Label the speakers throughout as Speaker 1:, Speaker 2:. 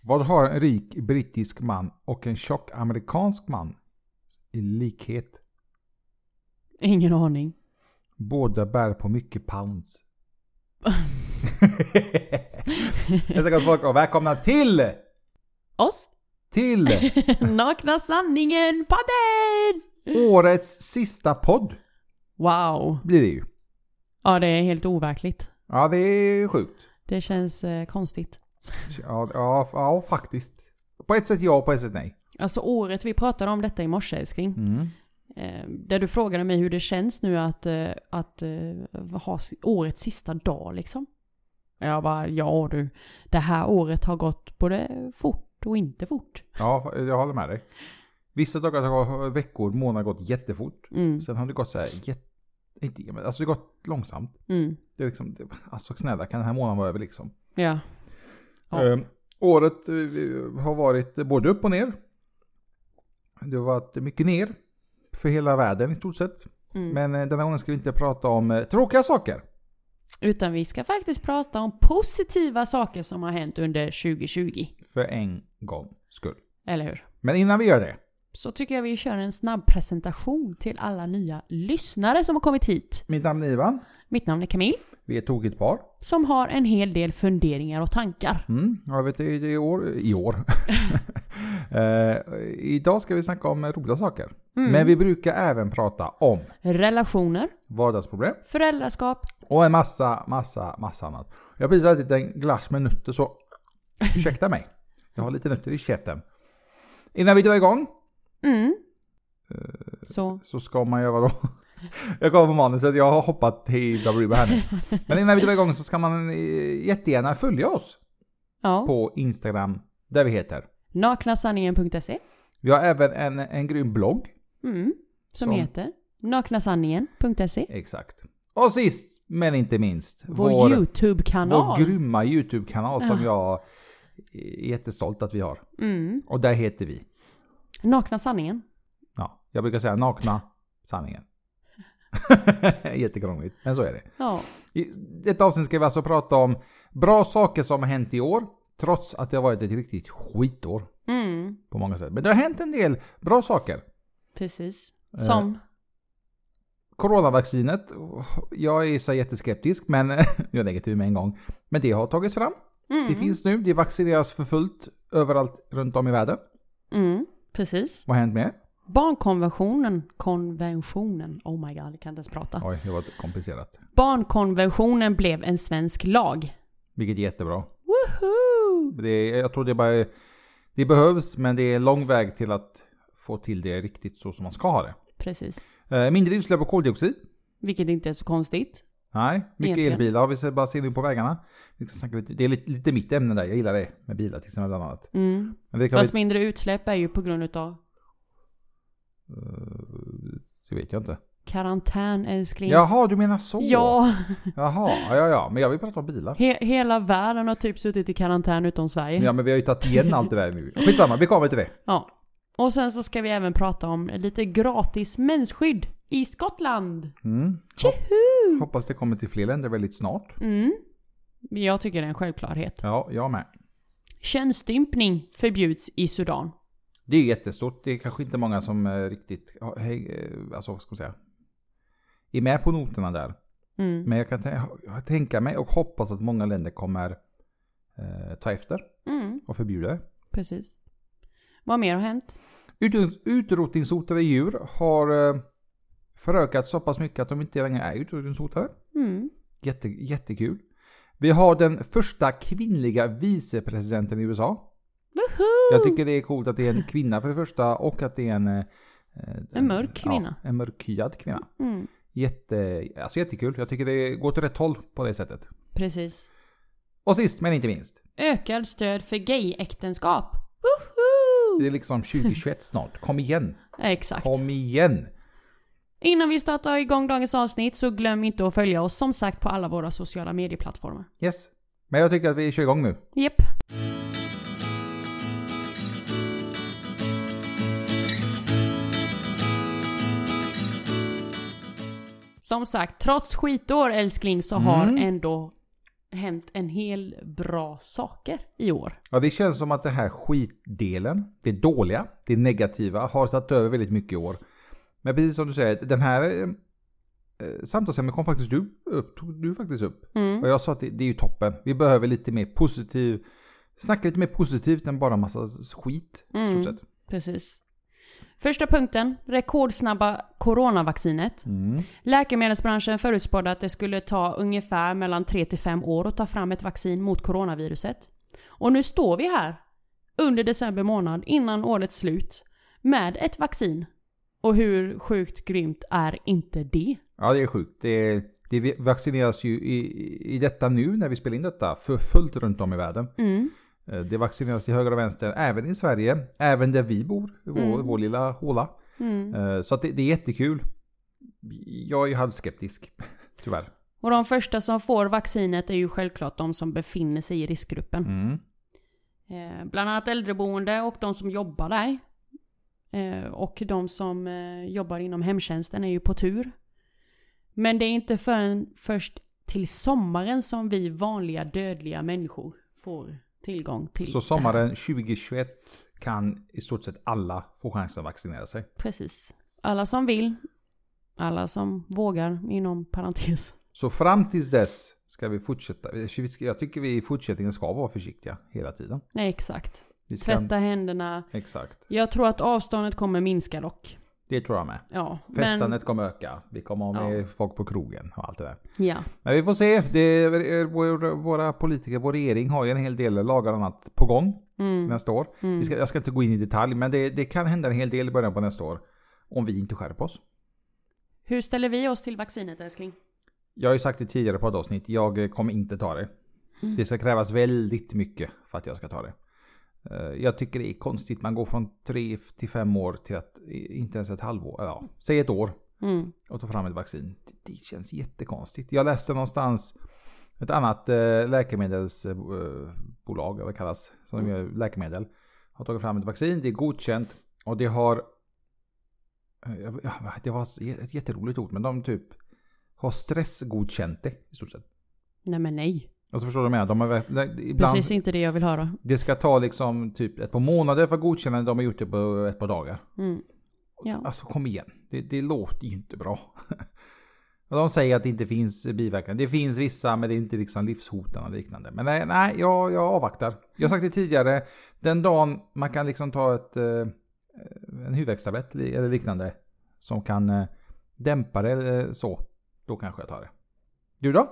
Speaker 1: Vad har en rik brittisk man och en tjock amerikansk man i likhet?
Speaker 2: Ingen aning.
Speaker 1: Båda bär på mycket pounds. Hälsa gott folk och välkomna till!
Speaker 2: Oss?
Speaker 1: Till
Speaker 2: Nakna sanningen podden!
Speaker 1: årets sista podd
Speaker 2: Wow.
Speaker 1: blir det ju.
Speaker 2: Ja, det är helt overkligt.
Speaker 1: Ja, det är sjukt.
Speaker 2: Det känns eh, konstigt.
Speaker 1: Ja, ja, ja faktiskt. På ett sätt ja, på ett sätt nej.
Speaker 2: Alltså året vi pratade om detta i morse älskling.
Speaker 1: Mm.
Speaker 2: Eh, där du frågade mig hur det känns nu att, eh, att eh, ha si- årets sista dag liksom. Jag bara, ja du. Det här året har gått både fort och inte fort.
Speaker 1: Ja, jag håller med dig. Vissa dagar har veckor, månader gått jättefort.
Speaker 2: Mm,
Speaker 1: Sen har det gått så här, jätte, inte, men alltså det har gått långsamt.
Speaker 2: mm,
Speaker 1: Det är liksom, det, alltså snälla kan den här månaden vara över liksom.
Speaker 2: ja. Ja.
Speaker 1: Eh, året eh, har varit både upp och ner. Det har varit mycket ner. För hela världen i stort sett.
Speaker 2: Mm.
Speaker 1: Men eh, den här gången ska vi inte prata om eh, tråkiga saker.
Speaker 2: Utan vi ska faktiskt prata om positiva saker som har hänt under 2020.
Speaker 1: För en gång skull.
Speaker 2: Eller hur?
Speaker 1: Men innan vi gör det.
Speaker 2: Så tycker jag vi kör en snabb presentation till alla nya lyssnare som har kommit hit.
Speaker 1: Mitt namn är Ivan.
Speaker 2: Mitt namn är Camille,
Speaker 1: Vi är ett tokigt par.
Speaker 2: som har en hel del funderingar och tankar.
Speaker 1: Mm, jag vet i, i år. I år. eh, idag ska vi snacka om eh, roliga saker.
Speaker 2: Mm.
Speaker 1: Men vi brukar även prata om
Speaker 2: Relationer,
Speaker 1: vardagsproblem.
Speaker 2: föräldraskap.
Speaker 1: Och en massa, massa, massa annat. Jag har precis ätit en glass med nötter så ursäkta mig. Jag har lite nötter i käften. Innan vi drar igång
Speaker 2: Mm.
Speaker 1: Eh,
Speaker 2: Så,
Speaker 1: så ska man göra då? Jag kommer på manuset, jag har hoppat till WB här nu. Men innan vi drar igång så ska man eh, jättegärna följa oss
Speaker 2: ja.
Speaker 1: på Instagram där vi heter.
Speaker 2: Naknasanningen.se.
Speaker 1: Vi har även en, en grym blogg.
Speaker 2: Mm. Som,
Speaker 1: Som-
Speaker 2: heter naknasanningen.se.
Speaker 1: Exakt. Och sist men inte minst.
Speaker 2: Vår,
Speaker 1: vår
Speaker 2: YouTube-kanal.
Speaker 1: grymma YouTube-kanal som jag är jättestolt att vi har.
Speaker 2: mm.
Speaker 1: Och där heter vi.
Speaker 2: Nakna sanningen.
Speaker 1: Ja, jag brukar säga nakna sanningen. Jättekrångligt, men så är det.
Speaker 2: Ja.
Speaker 1: I detta avsnitt ska vi alltså prata om bra saker som har hänt i år, trots att det har varit ett riktigt skitår
Speaker 2: Mm.
Speaker 1: på många sätt. Men det har hänt en del bra saker.
Speaker 2: Precis.
Speaker 1: Eh,
Speaker 2: Som.
Speaker 1: Coronavaccinet, oh, jag är så jätteskeptisk, men jag är negativ med en gång. Men det har tagits fram.
Speaker 2: Mm.
Speaker 1: Det finns nu, det vaccineras för fullt överallt runt om i världen.
Speaker 2: Mm. Precis.
Speaker 1: Vad har hänt med?
Speaker 2: Barnkonventionen, konventionen, oh my god, jag kan inte ens prata.
Speaker 1: Oj, det var komplicerat.
Speaker 2: Barnkonventionen blev en svensk lag.
Speaker 1: Vilket är jättebra.
Speaker 2: Woohoo!
Speaker 1: Det är, jag tror det bara det behövs, men det är en lång väg till att få till det riktigt så som man ska ha det.
Speaker 2: Precis.
Speaker 1: Eh, Mindre utsläpp av koldioxid.
Speaker 2: Vilket inte är så konstigt.
Speaker 1: Nej, mycket
Speaker 2: Egentligen.
Speaker 1: elbilar har vi sett- bara ser nu på vägarna. Vi ska snacka lite, det är lite, lite mitt ämne där, jag gillar det med bilar till exempel bland annat.
Speaker 2: Mm.
Speaker 1: Men det kan
Speaker 2: Fast
Speaker 1: vi,
Speaker 2: mindre utsläpp är ju på grund utav
Speaker 1: det vet jag inte.
Speaker 2: karantän älskling.
Speaker 1: Jaha, du menar så?
Speaker 2: Ja,
Speaker 1: Jaha, ja, ja, ja, men jag vill prata om bilar.
Speaker 2: he- hela världen har typ suttit i karantän utom Sverige.
Speaker 1: Ja, men vi har ju tagit igen allt det där nu. Skitsamma, vi kommer till det.
Speaker 2: Ja. Och sen så ska vi även prata om lite gratis mensskydd i Skottland.
Speaker 1: Mm.
Speaker 2: Tjoho!
Speaker 1: Hoppas det kommer till fler länder väldigt snart.
Speaker 2: Mm. Jag tycker det är en självklarhet.
Speaker 1: Ja, jag med.
Speaker 2: Könsstympning förbjuds i Sudan.
Speaker 1: Det är jättestort. Det är kanske inte många som eh, riktigt ja, hej, eh, alltså, vad ska man säga, är med på noterna där.
Speaker 2: Mm.
Speaker 1: Men jag kan tän- jag tänka mig och hoppas att många länder kommer eh, ta efter
Speaker 2: Mm,
Speaker 1: och förbjuda det.
Speaker 2: precis. Vad mer har hänt?
Speaker 1: Utrot- Utrotningshotade djur har eh, förökat så pass mycket att de inte längre är utrotningshotade.
Speaker 2: Mm.
Speaker 1: Jätte, jättekul. Vi har den första kvinnliga vicepresidenten i USA.
Speaker 2: Woho!
Speaker 1: Jag tycker det är coolt att det är en kvinna för det första och att det är en... eh,
Speaker 2: En mörk kvinna.
Speaker 1: Ja, en mörkhyad kvinna.
Speaker 2: Mm,
Speaker 1: Jätte, alltså jättekul. Jag tycker det går till rätt håll på det sättet.
Speaker 2: precis.
Speaker 1: Och sist men inte minst.
Speaker 2: Ökad stöd för gayäktenskap. Woho!
Speaker 1: Det är liksom 2021 snart. Kom igen.
Speaker 2: Exakt.
Speaker 1: Kom igen.
Speaker 2: Innan vi startar igång dagens avsnitt så glöm inte att följa oss som sagt på alla våra sociala medieplattformar.
Speaker 1: Yes. Men jag tycker att vi kör igång nu.
Speaker 2: Jep. Som sagt, trots skitår älskling så har
Speaker 1: Mm.
Speaker 2: ändå hänt en hel bra saker i år.
Speaker 1: Ja, det känns som att det här skitdelen, det dåliga, det negativa, har tagit över väldigt mycket i år. Men precis som du säger, den här eh, samtalsämnet kom faktiskt du upp, tog du faktiskt upp.
Speaker 2: Mm.
Speaker 1: Och jag sa att det, det är ju toppen. Vi behöver lite mer positiv, snacka lite mer positivt än bara massa skit. i stort sett.
Speaker 2: Precis. Första punkten, rekordsnabba coronavaccinet.
Speaker 1: Mm.
Speaker 2: Läkemedelsbranschen förutspådde att det skulle ta ungefär mellan 3 till 5 år att ta fram ett vaccin mot coronaviruset. Och nu står vi här under december månad innan årets slut med ett vaccin. Och hur sjukt grymt är inte det?
Speaker 1: Ja, det är sjukt. Det, det vaccineras ju i, i detta nu när vi spelar in detta för fullt runt om i världen.
Speaker 2: Mm.
Speaker 1: Eh, Det vaccineras till höger och vänster, även i Sverige, även där vi bor, i vår,
Speaker 2: Mm.
Speaker 1: vår lilla håla.
Speaker 2: Mm.
Speaker 1: Eh, Så att det, det är jättekul. Jag är ju halvskeptisk, tyvärr.
Speaker 2: Och de första som får vaccinet är ju självklart de som befinner sig i riskgruppen.
Speaker 1: Mm.
Speaker 2: Eh, bland annat äldreboende och de som jobbar där. Eh, och de som eh, jobbar inom hemtjänsten är ju på tur. Men det är inte förrän först till sommaren som vi vanliga dödliga människor får tillgång till
Speaker 1: Så
Speaker 2: det här.
Speaker 1: sommaren 2021 kan i stort sett alla få chansen att vaccinera sig.
Speaker 2: Precis. Alla som vill. Alla som vågar inom parentes.
Speaker 1: Så fram tills dess ska vi fortsätta. Eh, vi ska- Jag tycker vi i fortsättningen ska vara försiktiga hela tiden.
Speaker 2: Nej exakt.
Speaker 1: Vi ska,
Speaker 2: Tvätta händerna.
Speaker 1: Exakt.
Speaker 2: Jag tror att avståndet kommer minska dock.
Speaker 1: Det tror jag med.
Speaker 2: Ja.
Speaker 1: Festandet kommer öka. Vi kommer ha med
Speaker 2: Ja.
Speaker 1: folk på krogen och allt det där.
Speaker 2: Men, ja.
Speaker 1: Men vi får se. Det är, eh, vår, våra politiker, vår regering har ju en hel del lagar och annat på gång
Speaker 2: Mm.
Speaker 1: nästa år.
Speaker 2: Mm.
Speaker 1: Vi ska, jag ska inte gå in i detalj, men det, det kan hända en hel del i början på nästa år. Om vi inte skärper oss.
Speaker 2: Hur ställer vi oss till vaccinet älskling?
Speaker 1: Jag har ju sagt det tidigare på ett avsnitt, jag eh, kommer inte ta det.
Speaker 2: Mm.
Speaker 1: Det ska krävas väldigt mycket för att jag ska ta det. Eh, Jag tycker det är konstigt, man går från tre till fem år till att i- inte ens ett halvår, ja, säg ett år
Speaker 2: Mm.
Speaker 1: och ta fram ett vaccin. Det- Det känns jättekonstigt. Jag läste någonstans ett annat eh, läkemedelsbolag, eller vad det kallas, som
Speaker 2: Mm.
Speaker 1: gör läkemedel. Har tagit fram ett vaccin, det är godkänt och det har... eh, jag- ja, Det var ett jätteroligt ord, men de typ har stressgodkänt det i stort sett.
Speaker 2: Nej men nej.
Speaker 1: Alltså förstår du vad jag menar? De har, verk- ibland,
Speaker 2: Precis inte det jag vill höra.
Speaker 1: Det ska ta liksom typ ett par månader för godkännande, de har gjort det på ett par dagar.
Speaker 2: Mm. Ja.
Speaker 1: Alltså kom igen, det, det låter ju inte bra. Och de säger att det inte finns biverkningar. Det finns vissa men det är inte liksom livshotande och liknande. Men nej, nej jag, jag avvaktar. Jag har sagt det tidigare, den dagen man kan liksom ta ett, eh, en huvudvärkstablett li- eller liknande som kan eh, dämpa det eller så, då kanske jag tar det. Du då?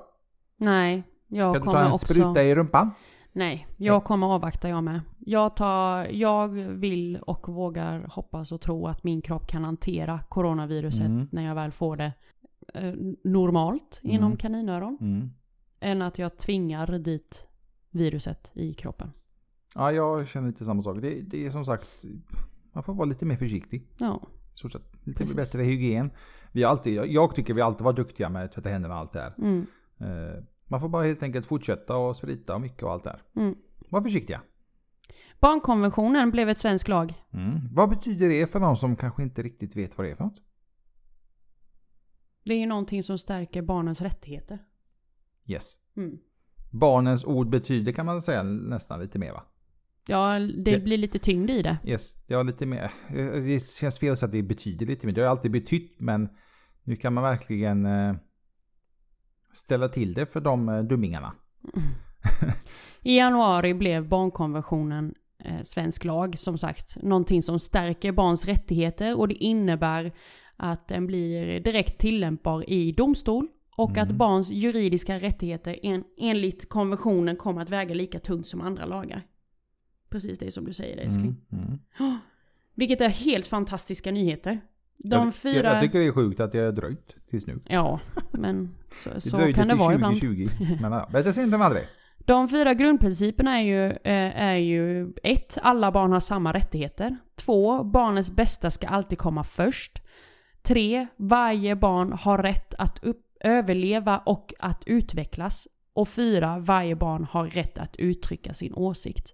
Speaker 2: Nej, jag
Speaker 1: Kan du ta en
Speaker 2: kommer också...
Speaker 1: spruta i rumpan?
Speaker 2: Nej, jag kommer avvakta jag med. Jag, tar, jag vill och vågar hoppas och tro att min kropp kan hantera coronaviruset
Speaker 1: Mm.
Speaker 2: när jag väl får det eh, normalt
Speaker 1: Mm.
Speaker 2: inom kaninöron.
Speaker 1: Mm.
Speaker 2: Än att jag tvingar dit viruset i kroppen.
Speaker 1: Ja, jag känner lite samma sak. Det, det är som sagt, man får vara lite mer försiktig.
Speaker 2: Ja,
Speaker 1: i stort sett. Lite
Speaker 2: Precis.
Speaker 1: bättre hygien. Vi har alltid, jag- jag tycker vi alltid var duktiga med att tvätta händerna och allt det här.
Speaker 2: mm.
Speaker 1: Eh, Man får bara helt enkelt fortsätta och sprita och mycket och allt det här.
Speaker 2: Mm.
Speaker 1: Var försiktiga.
Speaker 2: Barnkonventionen blev ett svensk lag.
Speaker 1: Mm. Vad betyder det för någon som kanske inte riktigt vet vad det är för något?
Speaker 2: Det är ju någonting som stärker barnens rättigheter.
Speaker 1: Yes.
Speaker 2: Mm.
Speaker 1: Barnens ord betyder kan man säga nästan lite mer va?
Speaker 2: Ja, det
Speaker 1: Ja.
Speaker 2: blir lite tyngd i det.
Speaker 1: Yes, det var lite mer. eh, Det känns fel att säga att det betyder lite mer. Det har alltid betytt men nu kan man verkligen eh, ställa till det för de eh, dummingarna.
Speaker 2: I januari blev barnkonventionen eh, svensk lag, som sagt. Någonting som stärker barns rättigheter och det innebär att den blir direkt tillämpbar i domstol och
Speaker 1: Mm.
Speaker 2: att barns juridiska rättigheter en, enligt konventionen kommer att väga lika tungt som andra lagar. Precis det som du säger älskling.
Speaker 1: Mm, mm.
Speaker 2: Vilket är helt fantastiska nyheter.
Speaker 1: Jag-
Speaker 2: De fyra...
Speaker 1: jag, jag tycker det är sjukt att det har dröjt tills nu.
Speaker 2: Ja, men så,
Speaker 1: Det
Speaker 2: så
Speaker 1: dröjde
Speaker 2: kan det
Speaker 1: till
Speaker 2: vara ibland.
Speaker 1: 2020. Men ja, bättre sent än aldrig.
Speaker 2: De fyra grundprinciperna är ju, eh, är ju ett, Alla barn har samma rättigheter. Två, Barnets bästa ska alltid komma först. Tre, Varje barn har rätt att upp, överleva och att utvecklas. Och fyra, Varje barn har rätt att uttrycka sin åsikt.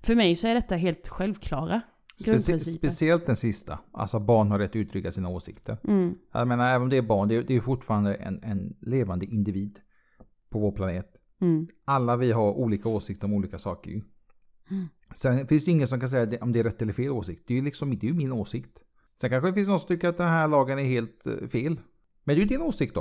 Speaker 2: För mig så är detta helt självklara
Speaker 1: Specie-
Speaker 2: grundprinciper.
Speaker 1: speciellt den sista. Alltså barn har rätt att uttrycka sina åsikter.
Speaker 2: Mm,
Speaker 1: Jag menar även om det är barn, det är, det är fortfarande en, en levande individ på vår planet.
Speaker 2: Mm.
Speaker 1: Alla vi har olika åsikter om olika saker ju.
Speaker 2: Mm.
Speaker 1: Sen finns det ju ingen som kan säga det- om det är rätt eller fel åsikt. Det är ju liksom, det är ju min åsikt. Sen kanske det finns någon som tycker att den här lagen är helt eh, fel. Men det är ju din åsikt då.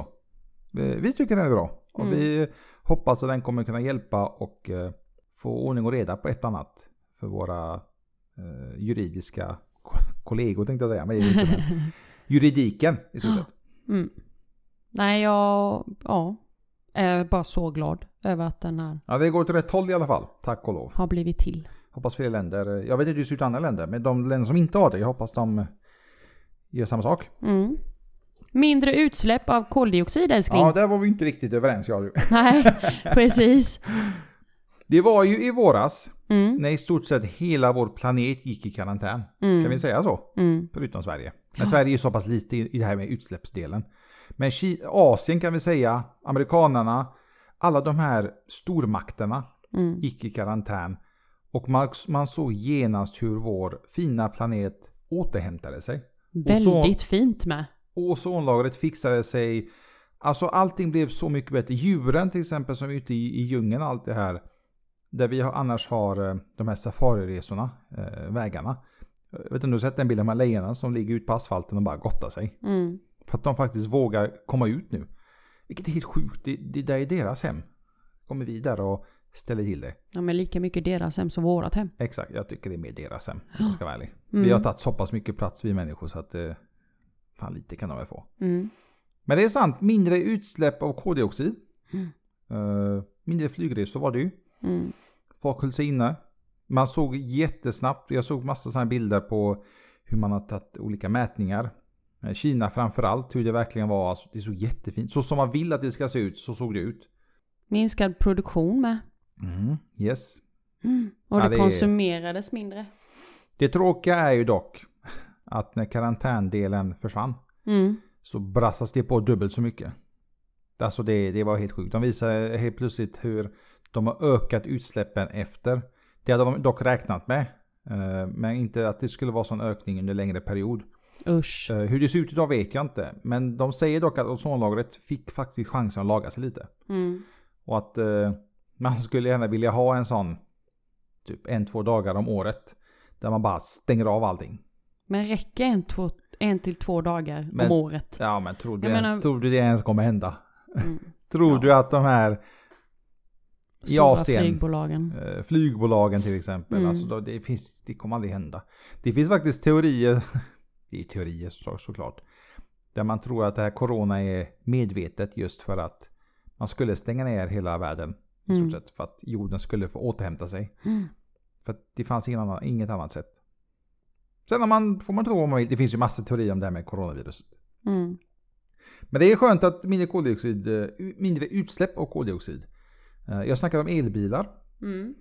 Speaker 1: Eh, Vi tycker den är bra. Och
Speaker 2: Mm.
Speaker 1: vi hoppas att den kommer kunna hjälpa och eh, få ordning och reda på ett och annat. För våra eh, juridiska ko- kollegor tänkte jag säga. Men det är ju inte, men juridiken i stort sett.
Speaker 2: Mm. Nej, jag ja, är bara så glad över att den här
Speaker 1: Ja, det går åt rätt håll i alla fall. Tack och lov.
Speaker 2: har blivit till.
Speaker 1: Hoppas fler länder, jag vet inte hur det ser ut i andra länder, men de länder som inte har det, jag hoppas de gör samma sak.
Speaker 2: Mm. Mindre utsläpp av koldioxid älskling.
Speaker 1: Ja, där var vi inte riktigt överens jag och du.
Speaker 2: Nej, precis.
Speaker 1: Det var ju i våras
Speaker 2: Mm,
Speaker 1: när i stort sett hela vår planet gick i karantän. Kan vi
Speaker 2: mm,
Speaker 1: säga så?
Speaker 2: mm,
Speaker 1: Förutom Sverige. Men Sverige är ju så pass lite i i det här med utsläppsdelen. Men Ki- Asien kan vi säga, amerikanarna, alla de här stormakterna
Speaker 2: mm.
Speaker 1: gick i karantän. Och man, man såg genast hur vår fina planet återhämtade sig.
Speaker 2: Väldigt fint med.
Speaker 1: Ozonlagret fixade sig. Alltså allting blev så mycket bättre. Djuren till exempel som är ute i, i djungeln och allt det här. Där vi har, annars har eh, de här safariresorna, eh, vägarna. Jag vet inte om du har sett den bilden med lejonen som ligger ute på asfalten och bara gottar sig.
Speaker 2: Mm.
Speaker 1: För att de faktiskt vågar komma ut nu. Vilket är helt sjukt. Det, det där är deras hem. Kommer vi där och ställer till det.
Speaker 2: Ja, men lika mycket deras hem som vårat hem.
Speaker 1: Exakt, jag tycker det är mer deras hem. Om jag ska vara ärlig.
Speaker 2: Mm.
Speaker 1: Vi har tagit så pass mycket plats vi människor så att eh, fan lite kan de väl få.
Speaker 2: Mm.
Speaker 1: Men det är sant, mindre utsläpp av koldioxid.
Speaker 2: Mm.
Speaker 1: Eh, mindre flygresor var det ju.
Speaker 2: Mm.
Speaker 1: Folk höll sig inne. Man såg jättesnabbt, jag såg massa sådana bilder på hur man har tagit olika mätningar. Eh, Kina framförallt, hur det verkligen var. Alltså, det såg jättefint. Så som man vill att det ska se ut, så såg det ut.
Speaker 2: Minskad produktion med.
Speaker 1: Yes.
Speaker 2: Mm. Och
Speaker 1: Ja,
Speaker 2: det,
Speaker 1: det är-
Speaker 2: konsumerades mindre.
Speaker 1: Det tråkiga är ju dock att när karantändelen försvann
Speaker 2: Mm.
Speaker 1: så brassas det på dubbelt så mycket. Alltså det, det var helt sjukt. De visar helt plötsligt hur de har ökat utsläppen efter. Det hade de dock räknat med. eh, Men inte att det skulle vara sån ökning under längre period.
Speaker 2: Usch.
Speaker 1: Eh, Hur det ser ut idag vet jag inte. Men de säger dock att ozonlagret fick faktiskt chansen att laga sig lite.
Speaker 2: Mm.
Speaker 1: Och att eh, man skulle gärna vilja ha en sån typ en, två dagar om året. Där man bara stänger av allting.
Speaker 2: Men räcker en, två, en till två dagar
Speaker 1: Men-
Speaker 2: om året?
Speaker 1: Ja men tror du,
Speaker 2: Jag
Speaker 1: ens,
Speaker 2: menar-
Speaker 1: tror du det ens kommer hända?
Speaker 2: Mm.
Speaker 1: Tror
Speaker 2: Ja.
Speaker 1: du att de här I
Speaker 2: Stora
Speaker 1: Asien.
Speaker 2: flygbolagen.
Speaker 1: Eh, flygbolagen till exempel.
Speaker 2: Mm.
Speaker 1: Alltså, då- det, finns, det kommer aldrig hända. Det finns faktiskt teorier, det är teorier så, såklart, där man tror att det här corona är medvetet just för att man skulle stänga ner hela världen. I stort
Speaker 2: Mm.
Speaker 1: sett, för att jorden skulle få återhämta sig.
Speaker 2: Mm.
Speaker 1: För att det fanns ingen annan, inget annat sätt. Sen har man, får man tro om man vill, det finns ju massor teorier om det här med coronaviruset.
Speaker 2: Mm.
Speaker 1: Men det är skönt att mindre, koldioxid, eh, mindre utsläpp av koldioxid. Eh, Jag snackade om elbilar.
Speaker 2: Mm.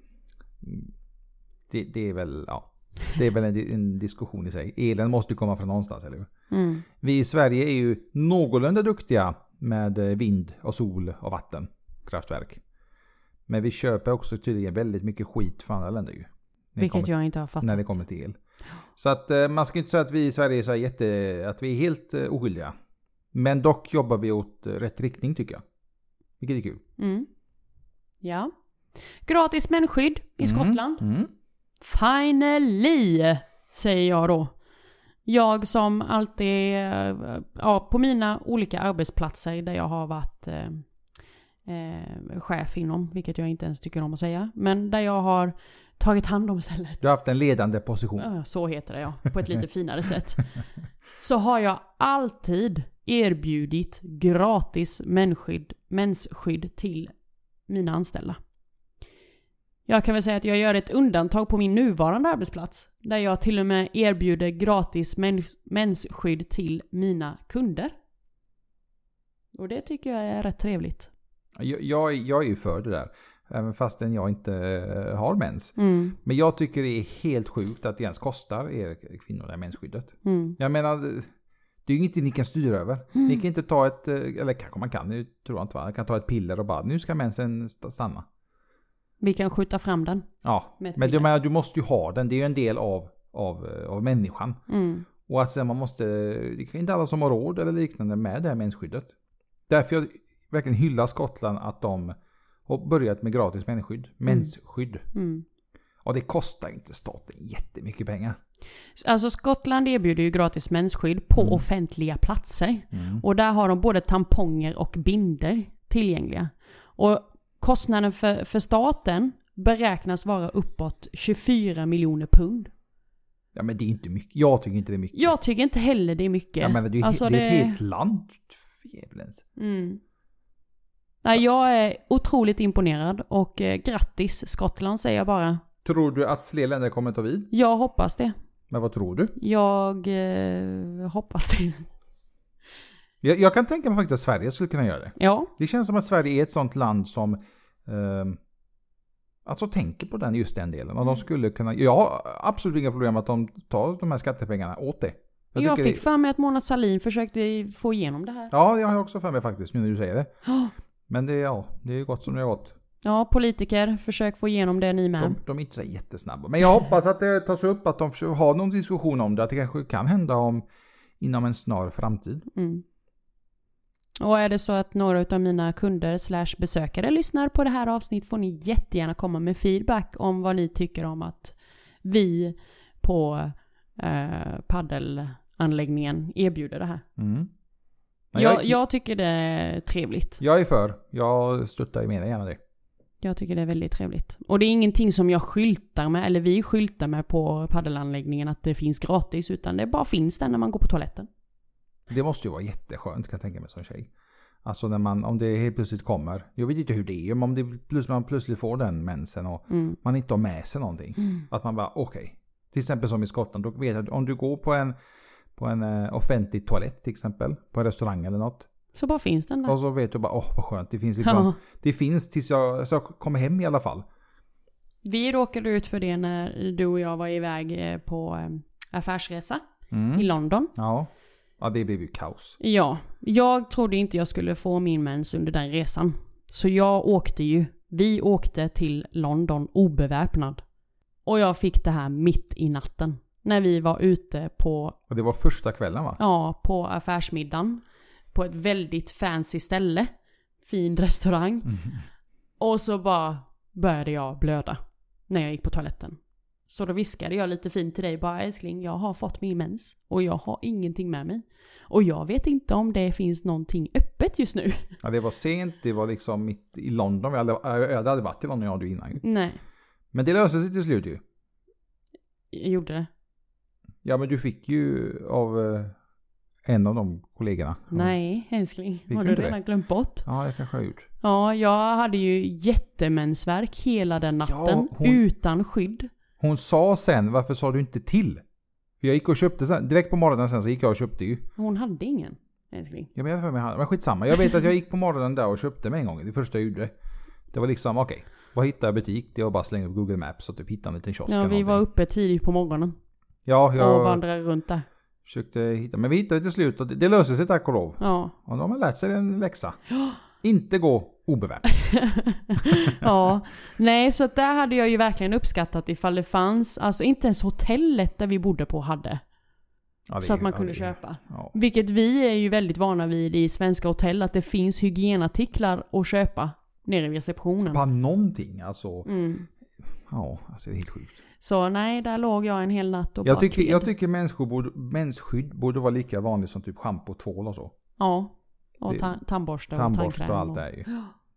Speaker 1: Det, det är väl, ja. Det är väl en, en diskussion i sig. Elen måste ju komma från någonstans, eller hur?
Speaker 2: Mm.
Speaker 1: Vi i Sverige är ju någorlunda duktiga med eh, vind och sol och vatten. Kraftverk. Men vi köper också tydligen väldigt mycket skit från andra länder ju. När det
Speaker 2: Vilket
Speaker 1: kommer,
Speaker 2: jag inte har fattat.
Speaker 1: När det kommer till el. Så att eh, man ska inte säga att vi i Sverige är så här jätte, att vi är helt eh, oskyldiga. Men dock jobbar vi åt eh, rätt riktning tycker jag. Vilket är kul.
Speaker 2: Mm. Ja. Gratis mensskydd i Skottland.
Speaker 1: Mm. Mm.
Speaker 2: Finally! Säger jag då. Jag som alltid, eh, ja på mina olika arbetsplatser där jag har varit eh, eh, chef inom, vilket jag inte ens tycker om att säga, men där jag har tagit hand om stället.
Speaker 1: Du har haft en ledande position.
Speaker 2: Ja, Så heter det ja, på ett lite finare sätt. Så har jag alltid erbjudit gratis mensskydd, mensskydd till mina anställda. Jag kan väl säga att jag gör ett undantag på min nuvarande arbetsplats. Där jag till och med erbjuder gratis mens, mensskydd till mina kunder. Och det tycker jag är rätt trevligt.
Speaker 1: Jag, jag, jag är ju för det där. Även fastän jag inte eh, har mens. Men jag tycker det är helt sjukt att det ens kostar er kvinnor det här mensskyddet.
Speaker 2: Mm.
Speaker 1: Jag menar, det är ju inget ni kan styra över. Ni kan inte ta ett, eh, eller kanske man kan, nu tror jag inte va? Man kan ta ett piller och bara nu ska mensen st- stanna.
Speaker 2: Vi kan skjuta fram den.
Speaker 1: Ja,
Speaker 2: Med ett
Speaker 1: men du,
Speaker 2: piller.
Speaker 1: menar, du måste ju ha den. Det är ju en del av, av, eh, av människan.
Speaker 2: Mm.
Speaker 1: Och att sen man måste, det är inte alla som har råd eller liknande med det här mensskyddet. Därför jag verkligen hyllar Skottland att de och börjat med gratis mensskydd. Mensskydd.
Speaker 2: Mm.
Speaker 1: Och det kostar inte staten jättemycket pengar.
Speaker 2: Alltså Skottland erbjuder ju gratis mensskydd
Speaker 1: Mm.
Speaker 2: på offentliga platser. Och där har de både tamponger och binder tillgängliga. Och kostnaden för, för staten beräknas vara uppåt 24 miljoner pund.
Speaker 1: Ja men det är inte mycket. Jag tycker inte det är mycket.
Speaker 2: Jag tycker inte heller det är mycket.
Speaker 1: Ja, men det är, ju
Speaker 2: Alltså,
Speaker 1: he- det är
Speaker 2: det-
Speaker 1: ett helt land. Jävlens.
Speaker 2: Mm. Nej, jag är otroligt imponerad och eh, grattis Skottland säger jag bara.
Speaker 1: Tror du att fler länder kommer ta vid?
Speaker 2: Jag hoppas det.
Speaker 1: Men vad tror du?
Speaker 2: Jag eh, hoppas det.
Speaker 1: Jag, jag kan tänka mig faktiskt att Sverige skulle kunna göra det.
Speaker 2: Ja,
Speaker 1: Det känns som att Sverige är ett sånt land som ehm, alltså tänker på den, just den delen.
Speaker 2: Mm.
Speaker 1: Och de skulle kunna, jag har absolut inga problem att de tar de här skattepengarna åt det.
Speaker 2: jag,
Speaker 1: tycker
Speaker 2: fick
Speaker 1: det,
Speaker 2: för mig att Mona Sahlin försökte få igenom det här.
Speaker 1: Ja, jag har jag också för mig faktiskt nu när du säger det.
Speaker 2: Ja.
Speaker 1: Men det, ja, det är ju gott som det är gott.
Speaker 2: Ja, politiker, försök få igenom det ni med.
Speaker 1: De, de är inte så jättesnabba. Men jag hoppas att det tas upp, att de försöker ha någon diskussion om det. Att det kanske kan hända om inom en snar framtid.
Speaker 2: Mm. Och är det så att några av mina kunder slash besökare lyssnar på det här avsnittet får ni jättegärna komma med feedback om vad ni tycker om att vi på eh, paddelanläggningen erbjuder det här.
Speaker 1: Mm. Men
Speaker 2: Jag,
Speaker 1: jag,
Speaker 2: jag, tycker det är trevligt.
Speaker 1: jag är för. Jag stöttar ju mer gärna det.
Speaker 2: Jag tycker det är väldigt trevligt. Och det är ingenting som jag skyltar med, eller vi skyltar med på paddelanläggningen att det finns gratis, utan det bara finns där när man går på toaletten.
Speaker 1: Det måste ju vara jätteskönt kan jag tänka mig som tjej. Alltså när man, om det helt plötsligt kommer. Jag vet inte hur det är, men om det plötsligt, man plötsligt får den mensen och
Speaker 2: Mm.
Speaker 1: man inte har med sig någonting. Att man bara okej. Till exempel som i Skottland, då vet jag att om du går på en, på en eh, offentlig toalett till exempel. På en restaurang eller något.
Speaker 2: Så bara finns den där.
Speaker 1: Och så vet du bara åh vad skönt. Det finns liksom,
Speaker 2: Ja.
Speaker 1: det finns tills jag, så jag kommer hem i alla fall.
Speaker 2: Vi råkade ut för det när du och jag var iväg eh, på eh, affärsresa
Speaker 1: Mm.
Speaker 2: i London.
Speaker 1: Ja. Ja det blev ju kaos.
Speaker 2: Ja, jag trodde inte jag skulle få min mens under den resan. Så jag åkte ju, vi åkte till London obeväpnad. Och jag fick det här mitt i natten. När vi var ute på,
Speaker 1: Och det var första kvällen va?
Speaker 2: ja, på affärsmiddagen. På ett väldigt fancy ställe. Fin restaurang.
Speaker 1: Mm.
Speaker 2: Och så bara började jag blöda när jag gick på toaletten. Så då viskade jag lite fint till dig bara älskling, jag har fått min mens och jag har ingenting med mig. Och jag vet inte om det finns någonting öppet just nu.
Speaker 1: Ja det var sent, det var liksom mitt i London. Jag hade, jag hade varit i London jag och du innan ju.
Speaker 2: Nej,
Speaker 1: Men det löste sig till slut ju.
Speaker 2: jag gjorde det.
Speaker 1: Ja men du fick ju av eh, en av de kollegorna. Ja.
Speaker 2: Nej, älskling.
Speaker 1: du
Speaker 2: Har du
Speaker 1: inte det?
Speaker 2: redan glömt bort?
Speaker 1: Ja, jag kanske har gjort.
Speaker 2: Ja, jag hade ju jättemensvärk hela den natten
Speaker 1: Ja, hon-
Speaker 2: utan skydd.
Speaker 1: Hon sa sen, varför sa du inte till? För jag gick och köpte sen, direkt på morgonen sen så gick jag och köpte ju.
Speaker 2: Hon hade ingen, älskling.
Speaker 1: Jag menar för mig, men skitsamma. Jag vet att jag gick på morgonen där och köpte mig en gång. Det första jag gjorde. Det var liksom, okej. Vad hittar jag i butik? Det var bara att slänga upp Google Maps och typ hitta en liten kiosk
Speaker 2: Ja,
Speaker 1: eller
Speaker 2: vi var
Speaker 1: någonting.
Speaker 2: uppe tidigt på morgonen
Speaker 1: Ja,
Speaker 2: och
Speaker 1: jag
Speaker 2: vandrade runt där.
Speaker 1: försökte hitta. Men vi hittade till slut och det, det löste sig tack och lov.
Speaker 2: Ja.
Speaker 1: Och nu har man lärt sig en läxa. Inte gå obeväpnad.
Speaker 2: ja, nej så att där hade jag ju verkligen uppskattat ifall det fanns, alltså inte ens hotellet där vi bodde på hade.
Speaker 1: Ja, det
Speaker 2: så
Speaker 1: är-
Speaker 2: att man
Speaker 1: ja,
Speaker 2: kunde
Speaker 1: det är-
Speaker 2: köpa.
Speaker 1: Ja.
Speaker 2: Vilket vi är ju väldigt vana vid i svenska hotell, att det finns hygienartiklar att köpa nere vid receptionen.
Speaker 1: Bara någonting alltså.
Speaker 2: Mm.
Speaker 1: Ja, alltså det är helt sjukt.
Speaker 2: Så nej, där låg jag en hel natt och
Speaker 1: Jag
Speaker 2: bara
Speaker 1: tycker,
Speaker 2: kved.
Speaker 1: jag tycker mensskydd, borde, mensskydd borde vara lika vanligt som typ schampo och tvål och så.
Speaker 2: Ja, och
Speaker 1: Det-
Speaker 2: ta- tandborste och
Speaker 1: Tandborste
Speaker 2: tandkräm.
Speaker 1: och allt det här ju.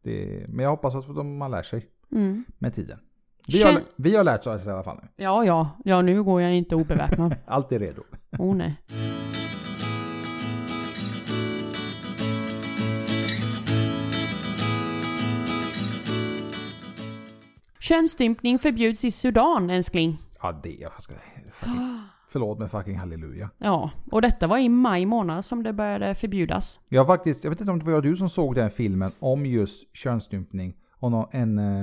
Speaker 1: Det, men jag hoppas att de, man lär sig
Speaker 2: Mm.
Speaker 1: med tiden. Vi har,
Speaker 2: Känn-
Speaker 1: vi har lärt oss i alla fall nu.
Speaker 2: Ja, ja, ja nu går jag inte obeväpnad.
Speaker 1: Allt är redo.
Speaker 2: Oh nej. Könsstympning förbjuds i Sudan, älskling.
Speaker 1: Ja, det är... Jag ska, fucking, förlåt men fucking halleluja.
Speaker 2: Ja, och detta var i maj månad som det började förbjudas.
Speaker 1: Jag har faktiskt, jag vet inte om det var jag och du som såg den filmen om just könsstympning. Om någon, en... eh,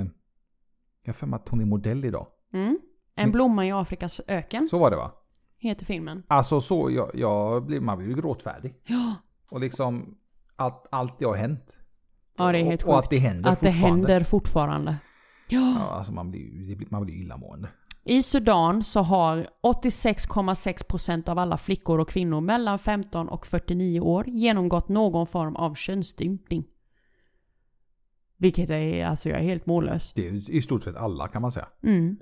Speaker 1: Jag har för mig att hon är modell idag.
Speaker 2: Mm. En blomma i Afrikas öken
Speaker 1: Så var det va?
Speaker 2: heter filmen.
Speaker 1: Alltså så, jag, jag blir, man blir ju gråtfärdig.
Speaker 2: Ja,
Speaker 1: Och liksom att allt det har hänt.
Speaker 2: ja det är helt
Speaker 1: Och- och att det
Speaker 2: sjukt.
Speaker 1: händer
Speaker 2: Att det
Speaker 1: fortfarande.
Speaker 2: händer fortfarande. Ja.
Speaker 1: Ja, alltså man blir ju det blir- man blir illamående.
Speaker 2: I Sudan så har 86,6% av alla flickor och kvinnor mellan 15 och 49 år genomgått någon form av könsstympning. Vilket är, alltså jag är helt mållös.
Speaker 1: Det är i stort sett alla kan man säga.
Speaker 2: Mm.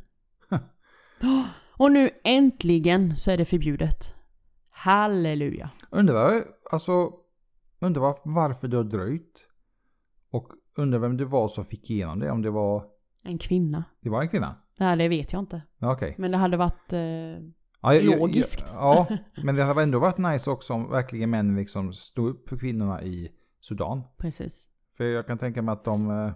Speaker 2: Åh, Och nu äntligen så är det förbjudet. Halleluja.
Speaker 1: Undrar, alltså, undrar var- varför du har dröjt. Och undrar vem det var som fick igenom det. Om det var,
Speaker 2: En kvinna.
Speaker 1: det var en kvinna?
Speaker 2: Nej, det vet jag inte.
Speaker 1: Ja, Okej.
Speaker 2: Men det hade varit... Eh,
Speaker 1: Ja, jag- jag-
Speaker 2: Logiskt.
Speaker 1: Ja, men det hade ändå varit nice också om verkligen män liksom stod upp för kvinnorna i Sudan.
Speaker 2: precis.
Speaker 1: För jag kan tänka mig att de eh,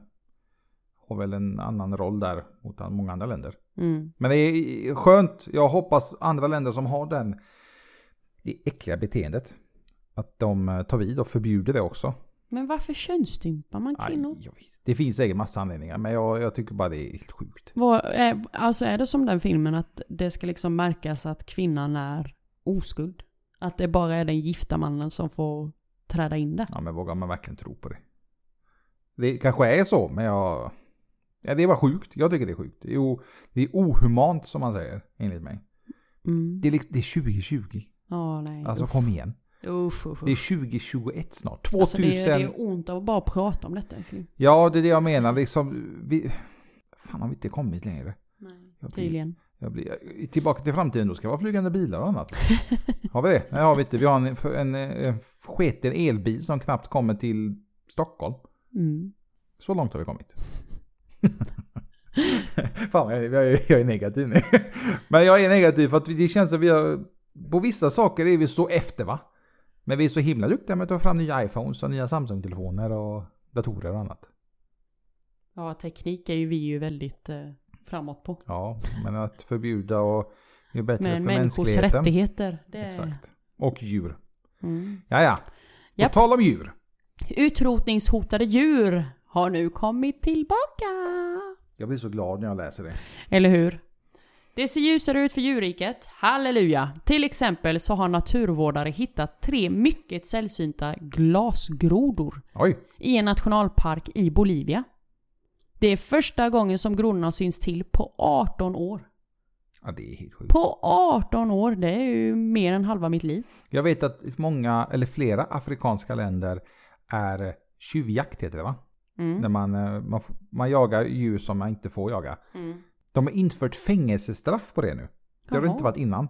Speaker 1: har väl en annan roll där mot an- många andra länder.
Speaker 2: Mm.
Speaker 1: Men det är skönt. Jag hoppas andra länder som har den det äckliga beteendet. Att de eh, tar vid och förbjuder det också.
Speaker 2: Men varför könsstympar man
Speaker 1: Aj,
Speaker 2: kvinnor?
Speaker 1: jag vet. Det finns säkert massa anledningar men jag, jag tycker bara det är helt sjukt.
Speaker 2: Vad, är, alltså är det som den filmen att det ska liksom märkas att kvinnan är oskuld? Att det bara är den gifta mannen som får träda in där?
Speaker 1: Ja men vågar man verkligen tro på det? Det kanske är så men jag... Ja, det är bara sjukt. Jag tycker det är sjukt. Det är, o, det är ohumant som man säger enligt mig.
Speaker 2: Mm.
Speaker 1: Det är, liksom, det är 2020.
Speaker 2: Ja, nej.
Speaker 1: Alltså
Speaker 2: usch.
Speaker 1: kom igen.
Speaker 2: Usch, usch,
Speaker 1: Det
Speaker 2: usch.
Speaker 1: är 2021 snart. 2000...
Speaker 2: Alltså det, är, det är ont att bara prata om detta älskling.
Speaker 1: Ja, det är det jag menar. Liksom, vi... Fan, har vi inte kommit längre?
Speaker 2: Nej,
Speaker 1: Jag blir-
Speaker 2: tydligen.
Speaker 1: Jag blir... Tillbaka till framtiden, då ska vi ha flygande bilar och annat. Har vi det? Nej, har vi inte. Vi har en, en, eh, en sketen elbil som knappt kommer till Stockholm.
Speaker 2: Mm.
Speaker 1: Så långt har vi kommit. Fan, jag, jag, är- jag är negativ nu. Men jag är negativ för att det känns som vi har... På vissa saker är vi så efter va? Men vi är så himla duktiga med att ta fram nya iPhones och nya Samsung-telefoner och datorer och annat.
Speaker 2: Ja, teknik är ju vi ju väldigt eh, framåt på.
Speaker 1: Ja, men att förbjuda och... Det är bättre
Speaker 2: Men
Speaker 1: för
Speaker 2: människors
Speaker 1: mänskligheten.
Speaker 2: rättigheter, det är...
Speaker 1: Exakt. Och djur.
Speaker 2: Mm.
Speaker 1: Ja, ja.
Speaker 2: Japp.
Speaker 1: På tal om djur.
Speaker 2: Utrotningshotade djur har nu kommit tillbaka!
Speaker 1: Jag blir så glad när jag läser det.
Speaker 2: Eller hur? Det ser ljusare ut för djurriket, halleluja! Till exempel så har naturvårdare hittat tre mycket sällsynta glasgrodor
Speaker 1: Oj.
Speaker 2: i en nationalpark i Bolivia. Det är första gången som grodorna syns till på 18 år.
Speaker 1: Ja, det är helt sjukt.
Speaker 2: På 18 år, det är ju mer än halva mitt liv.
Speaker 1: Jag vet att många, eller flera afrikanska länder är tjuvjakt heter det va? När
Speaker 2: Mm.
Speaker 1: man, eh, man, f- man jagar djur som man inte får jaga.
Speaker 2: Mm.
Speaker 1: De har infört fängelsestraff på det nu. Det har det
Speaker 2: Jaha.
Speaker 1: inte varit innan.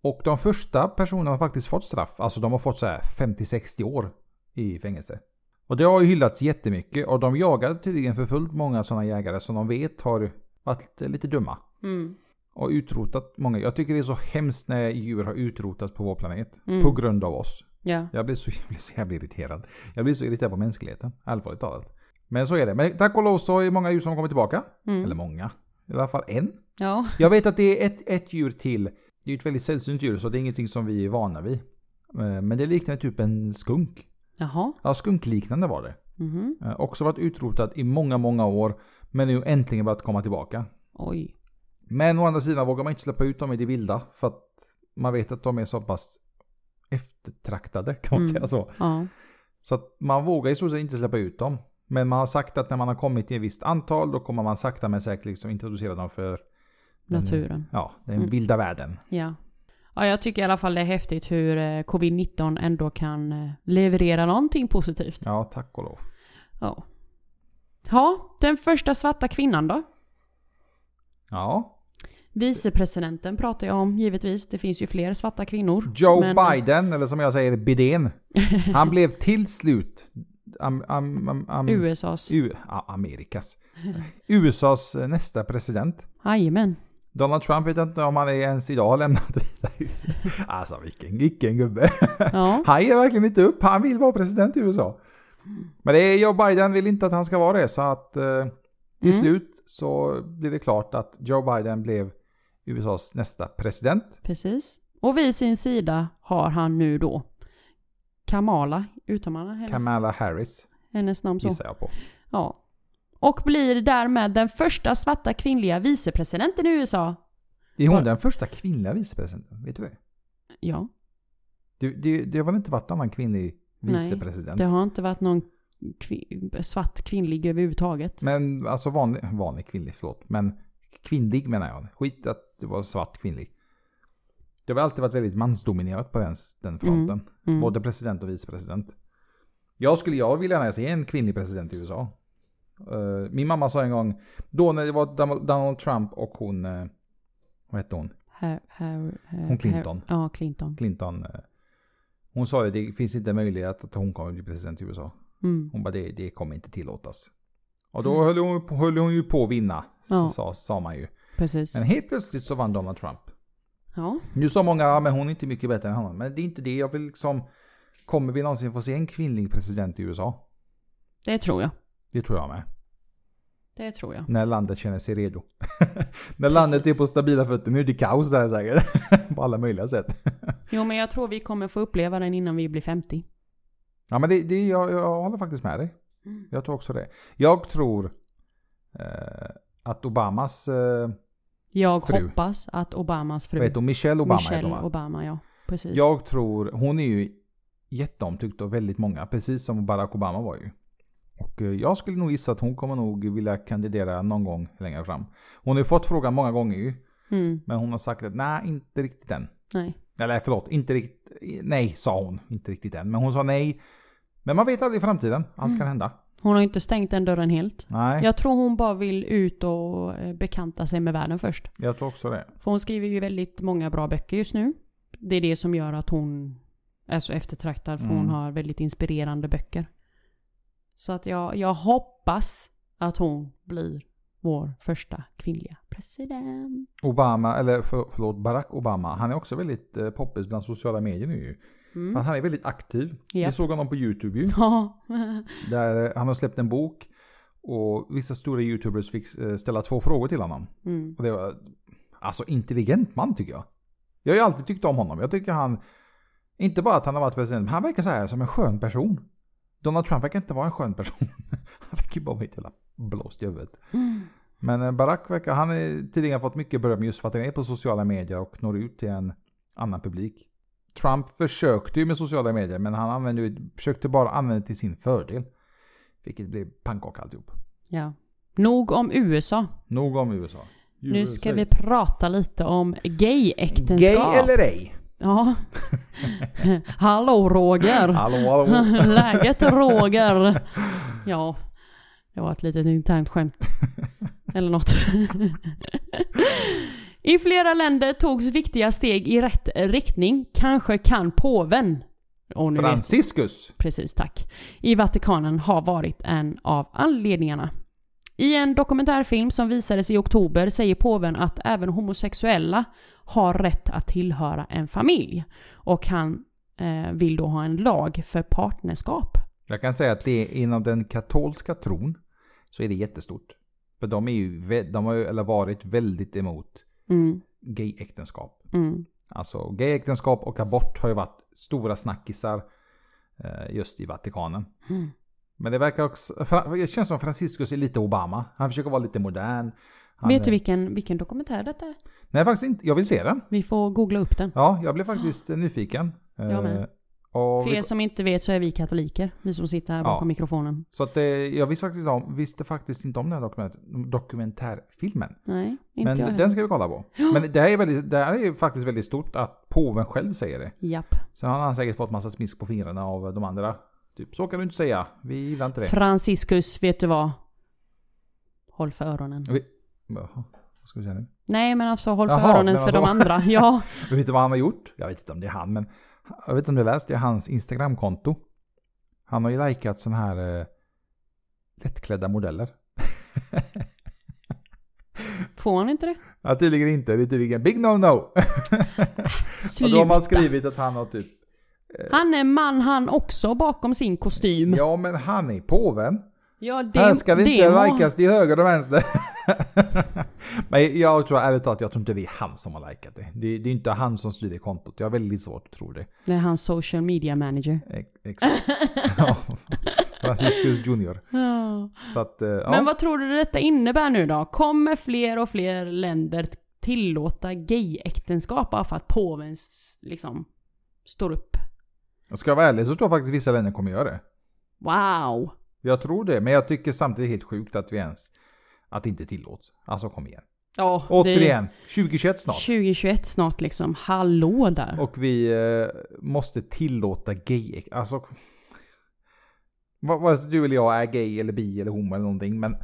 Speaker 1: Och de första personerna har faktiskt fått straff. Alltså de har fått så här 50-60 år i fängelse. Och det har ju hyllats jättemycket och de jagar tydligen för fullt många sådana jägare som de vet har varit lite dumma.
Speaker 2: Mm.
Speaker 1: Och utrotat många. Jag tycker det är så hemskt när djur har utrotats på vår planet.
Speaker 2: Mm.
Speaker 1: På grund av oss.
Speaker 2: Ja.
Speaker 1: Jag blir, så, jag blir så jävla irriterad. Jag blir så irriterad på mänskligheten, allvarligt talat. Men så är det. Men tack och lov så är många djur som kommer tillbaka.
Speaker 2: Mm.
Speaker 1: Eller många. I alla fall en.
Speaker 2: Ja.
Speaker 1: Jag vet att det är ett, ett djur till. Det är ju ett väldigt sällsynt djur så det är ingenting som vi är vana vid. Eh, Men det liknar typ en skunk.
Speaker 2: Jaha.
Speaker 1: Ja, skunkliknande var det.
Speaker 2: Mhm.
Speaker 1: Eh, Också varit utrotat i många, många år. Men nu äntligen börjat komma tillbaka.
Speaker 2: Oj.
Speaker 1: Men å andra sidan vågar man inte släppa ut dem i det vilda. För att man vet att de är så pass eftertraktade kan man
Speaker 2: Mm.
Speaker 1: säga så.
Speaker 2: Ja.
Speaker 1: Så att man vågar i stort sett inte släppa ut dem. Men man har sagt att när man har kommit till ett visst antal då kommer man sakta men säkert liksom introducera dem för den-
Speaker 2: Naturen.
Speaker 1: Ja, den
Speaker 2: Mm.
Speaker 1: vilda världen.
Speaker 2: Ja. Ja, jag tycker i alla fall det är häftigt hur eh, covid-19 ändå kan eh, leverera någonting positivt.
Speaker 1: Ja, tack och lov.
Speaker 2: Ja. Ja, den första svarta kvinnan då?
Speaker 1: Ja.
Speaker 2: Vicepresidenten pratar jag om givetvis. Det finns ju fler svarta kvinnor.
Speaker 1: Joe
Speaker 2: Men-
Speaker 1: Biden, eller som jag säger Biden. Han blev till slut am, am, am, am,
Speaker 2: USAs.
Speaker 1: U, ja, Amerikas. eh, USAs eh, nästa president.
Speaker 2: Jajamän.
Speaker 1: Donald Trump vet jag inte om han är ens idag har lämnat Vita huset. Alltså vilken, vilken gubbe.
Speaker 2: Ja.
Speaker 1: Han ger verkligen inte upp. Han vill vara president i USA. Men det är Joe Biden vill inte att han ska vara det så att eh, till
Speaker 2: Mm.
Speaker 1: slut så blev det klart att Joe Biden blev USAs nästa president.
Speaker 2: Precis. Och vid sin sida har han nu då Kamala, uttalar man hennes,
Speaker 1: Kamala Harris
Speaker 2: hennes namn så?
Speaker 1: gissar jag på.
Speaker 2: Ja. Och blir därmed den första svarta kvinnliga vicepresidenten i USA.
Speaker 1: Är hon
Speaker 2: Bara-
Speaker 1: den första kvinnliga vicepresidenten? Vet du det?
Speaker 2: Ja,
Speaker 1: Det, det, det har väl inte varit någon annan kvinnlig
Speaker 2: Nej,
Speaker 1: vicepresident?
Speaker 2: det har inte varit någon kvi- svart kvinnlig överhuvudtaget.
Speaker 1: Men alltså vanlig, vanlig kvinnlig, förlåt. Men kvinnlig menar jag. Skit att det var svart kvinnlig. Det har väl alltid varit väldigt mansdominerat på den, den fronten.
Speaker 2: Mm.
Speaker 1: Både president och vicepresident. Jag skulle jag vilja gärna se en kvinnlig president i USA. Eh, Min mamma sa en gång, då när det var Dam- Donald Trump och hon, eh, vad hette hon?
Speaker 2: Här, här, eh, här,
Speaker 1: Hon Clinton.
Speaker 2: Här, ja, Clinton.
Speaker 1: Clinton. eh, Hon sa ju det finns inte möjlighet att hon kommer bli president i USA.
Speaker 2: Mm.
Speaker 1: Hon bara det, det kommer inte tillåtas. Och då höll hon, på- höll hon ju på att vinna.
Speaker 2: Ja.
Speaker 1: Så sa, sa man ju.
Speaker 2: Precis.
Speaker 1: Men helt plötsligt så vann Donald Trump.
Speaker 2: Ja.
Speaker 1: Nu sa många, "Ja, men hon är inte mycket bättre än han. Men det är inte det jag vill liksom. Kommer vi någonsin få se en kvinnlig president i USA?
Speaker 2: Det tror jag.
Speaker 1: Det tror jag med.
Speaker 2: Det tror jag.
Speaker 1: När landet känner sig redo. När landet är
Speaker 2: Precis.
Speaker 1: på stabila fötter. Nu är det kaos där säkert. på alla möjliga sätt.
Speaker 2: Jo, men jag tror vi kommer få uppleva den innan vi blir 50.
Speaker 1: Ja men det, det, jag, jag håller faktiskt med dig.
Speaker 2: Mm.
Speaker 1: Jag tror också det. Jag tror eh, att Obamas, eh,
Speaker 2: Jag
Speaker 1: Fru.
Speaker 2: hoppas att Obamas fru,
Speaker 1: vad heter hon? Michelle Obama heter
Speaker 2: Michelle
Speaker 1: hon, va?
Speaker 2: Obama, ja. Precis.
Speaker 1: Jag tror, hon är ju jätteomtyckt av väldigt många, precis som Barack Obama var ju. Och eh, jag skulle nog gissa att hon kommer nog vilja kandidera någon gång längre fram. Hon har ju fått frågan många gånger ju,
Speaker 2: Mm,
Speaker 1: men hon har sagt att nej, inte riktigt än.
Speaker 2: nej.
Speaker 1: Eller förlåt, inte riktigt, nej sa hon, inte riktigt än. Men hon sa nej. Men man vet aldrig i framtiden, allt
Speaker 2: Mm.
Speaker 1: kan hända.
Speaker 2: Hon har inte stängt den dörren helt.
Speaker 1: Nej, jag,
Speaker 2: Jag tror hon bara vill ut och eh, bekanta sig med världen först.
Speaker 1: tror också det.
Speaker 2: För hon skriver ju väldigt många bra böcker just nu. Det är det som gör att hon är så eftertraktad för hon
Speaker 1: Mm.
Speaker 2: har väldigt inspirerande böcker. Så att jag, jag hoppas att hon blir vår första kvinnliga president.
Speaker 1: Obama, eller för, förlåt, Barack Obama, han är också väldigt eh, poppis bland sociala medier nu ju.
Speaker 2: Mm.
Speaker 1: Han är väldigt aktiv.
Speaker 2: Ja.
Speaker 1: Vi såg honom på YouTube ju.
Speaker 2: Ja.
Speaker 1: Där eh, han har släppt en bok och vissa stora youtubers fick eh, ställa två frågor till honom.
Speaker 2: Mm.
Speaker 1: Och det var, alltså intelligent man tycker jag. Jag har ju alltid tyckt om honom. Jag tycker han, inte bara att han har varit president, men han verkar så här som en skön person. Donald Trump verkar inte vara en skön person. Han verkar ju bara vara helt jävla blåst i huvudet.
Speaker 2: Mm.
Speaker 1: Men eh, Barack verkar, han har tidigare fått mycket beröm just för att han är på sociala medier och når ut till en annan publik. Trump försökte ju med sociala medier men han använde, ju- försökte bara använda det till sin fördel. Vilket blev pannkaka alltihop.
Speaker 2: ja. Nog om USA.
Speaker 1: Nog om USA.
Speaker 2: Nu ska vi prata lite om gayäktenskap.
Speaker 1: Gay eller ej?
Speaker 2: Ja. Hallå Roger!
Speaker 1: Hallå hallå.
Speaker 2: Läget Roger! Ja, det var ett litet internt skämt. Eller något. I flera länder togs viktiga steg i rätt riktning. Kanske kan påven... Och nu vet
Speaker 1: Franciscus.
Speaker 2: precis tack, i Vatikanen har varit en av anledningarna. I en dokumentärfilm som visades i oktober säger påven att även homosexuella har rätt att tillhöra en familj. Och han eh, vill då ha en lag för partnerskap.
Speaker 1: Jag kan säga att det är inom den katolska tron så är det jättestort. För de, är ju, vä- de har ju eller varit väldigt emot
Speaker 2: Mm,
Speaker 1: gayäktenskap.
Speaker 2: mm,
Speaker 1: Alltså gayäktenskap och abort har ju varit stora snackisar eh, just i Vatikanen.
Speaker 2: Mm.
Speaker 1: Men det verkar också, Fra- det känns som Franciscus är lite Obama. Han försöker vara lite modern. Han,
Speaker 2: Vet du vilken, vilken dokumentär detta är?
Speaker 1: Nej faktiskt inte, jag vill se den.
Speaker 2: Vi får googla upp den.
Speaker 1: Ja, jag blev faktiskt eh, nyfiken. Eh,
Speaker 2: Jag med.
Speaker 1: och
Speaker 2: För
Speaker 1: vi,
Speaker 2: er som inte vet så är vi katoliker, vi som sitter här bakom
Speaker 1: Ja.
Speaker 2: mikrofonen.
Speaker 1: så att, eh, jag visste faktiskt, om, visste faktiskt inte om den här dokument, dokumentärfilmen.
Speaker 2: Nej, inte
Speaker 1: Men
Speaker 2: jag
Speaker 1: den
Speaker 2: heller.
Speaker 1: ska vi kolla på. Men det här, är väldigt, det här är ju faktiskt väldigt stort att påven själv säger det.
Speaker 2: Japp.
Speaker 1: Sen har han säkert fått massa smisk på fingrarna av de andra. Typ, så kan du inte säga. Vi gillar inte det.
Speaker 2: Franciscus, vet du vad? Håll för öronen.
Speaker 1: Vi, jaha, vad ska vi säga nu?
Speaker 2: Nej men alltså håll för
Speaker 1: Jaha,
Speaker 2: öronen
Speaker 1: men
Speaker 2: för de
Speaker 1: vadå?
Speaker 2: andra. Ja.
Speaker 1: Jag vet inte vad han har gjort. Jag vet inte om det är han, men jag vet inte om du har läst. Det är hans Instagramkonto. Han har ju likat sådana här eh, lättklädda modeller.
Speaker 2: Får han inte det?
Speaker 1: Ja, tydligen inte. Det är tydligen big no no. Och då har
Speaker 2: Sluta.
Speaker 1: man skrivit att han har typ...
Speaker 2: Han är man han också bakom sin kostym.
Speaker 1: Ja, men han är påven.
Speaker 2: Ja, Mm. det,
Speaker 1: Här ska vi inte
Speaker 2: det må-
Speaker 1: likas till höger och vänster. Men jag tror ärligt talat, jag tror inte det är han som har likat det. Det, det är inte han som styr det kontot. Jag har väldigt svårt att tro det.
Speaker 2: Det är hans social media manager.
Speaker 1: Ex- Exakt. ja. Franciscus Junior.
Speaker 2: Ja.
Speaker 1: Så att, eh, ja.
Speaker 2: Men vad tror du detta innebär nu då? Kommer fler och fler länder tillåta gayäktenskap bara för att påven s- liksom står upp?
Speaker 1: Ska jag vara ärlig så tror jag faktiskt vissa länder kommer göra det.
Speaker 2: Wow!
Speaker 1: Jag tror det, men jag tycker samtidigt helt sjukt att vi ens... Att det inte tillåts. Alltså kom igen.
Speaker 2: Ja, det
Speaker 1: Återigen, 2021
Speaker 2: är
Speaker 1: snart.
Speaker 2: 2021 snart liksom. Hallå där.
Speaker 1: Och vi eh, måste tillåta gay... Alltså... Vad- Vare sig du eller jag är gay eller bi eller homo eller någonting. Men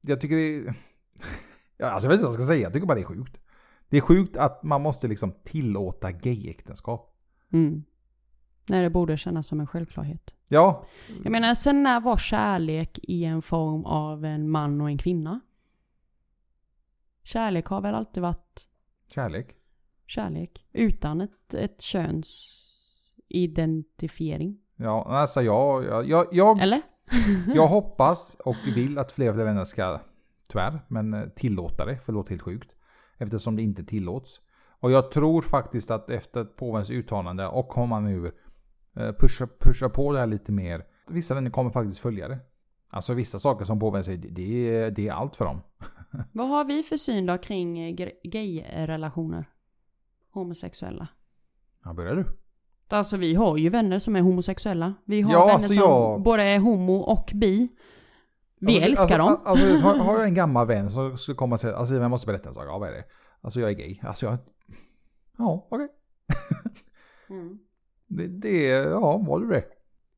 Speaker 1: jag tycker det är... Ja, alltså jag vet inte vad jag ska säga. Jag tycker bara det är sjukt. Det är sjukt att man måste liksom tillåta gayäktenskap.
Speaker 2: Mm. Nej, det borde kännas som en självklarhet.
Speaker 1: Ja,
Speaker 2: Jag menar, sen när var kärlek i en form av en man och en kvinna? Kärlek har väl alltid varit
Speaker 1: kärlek.
Speaker 2: kärlek. Utan ett, ett könsidentifiering.
Speaker 1: Ja, alltså jag, jag, jag, jag,
Speaker 2: Eller?
Speaker 1: jag hoppas och vill att fler och fler länder ska, tyvärr, men eh, tillåta det. För det låter helt sjukt. Eftersom det inte tillåts. Och jag tror faktiskt att efter påvens uttalande och om man nu eh, pushar, pushar på det här lite mer. Vissa länder kommer faktiskt följa det. Alltså vissa saker som påven säger, det- det är, det är allt för dem.
Speaker 2: Vad har vi för syn då kring eh, gre- gay-relationer? Homosexuella.
Speaker 1: Ja, börjar du?
Speaker 2: Alltså vi har ju vänner som är homosexuella. Vi har
Speaker 1: Ja,
Speaker 2: vänner
Speaker 1: alltså
Speaker 2: som
Speaker 1: jag-
Speaker 2: både är homo och bi. Vi
Speaker 1: Alltså,
Speaker 2: älskar
Speaker 1: alltså,
Speaker 2: dem.
Speaker 1: a- Alltså, har, har jag en gammal vän som skulle komma och säga, alltså jag måste berätta en sak, ja vad är det? Alltså jag är gay, alltså jag... Ja, okej.
Speaker 2: Mm.
Speaker 1: Det, det, ja var du det?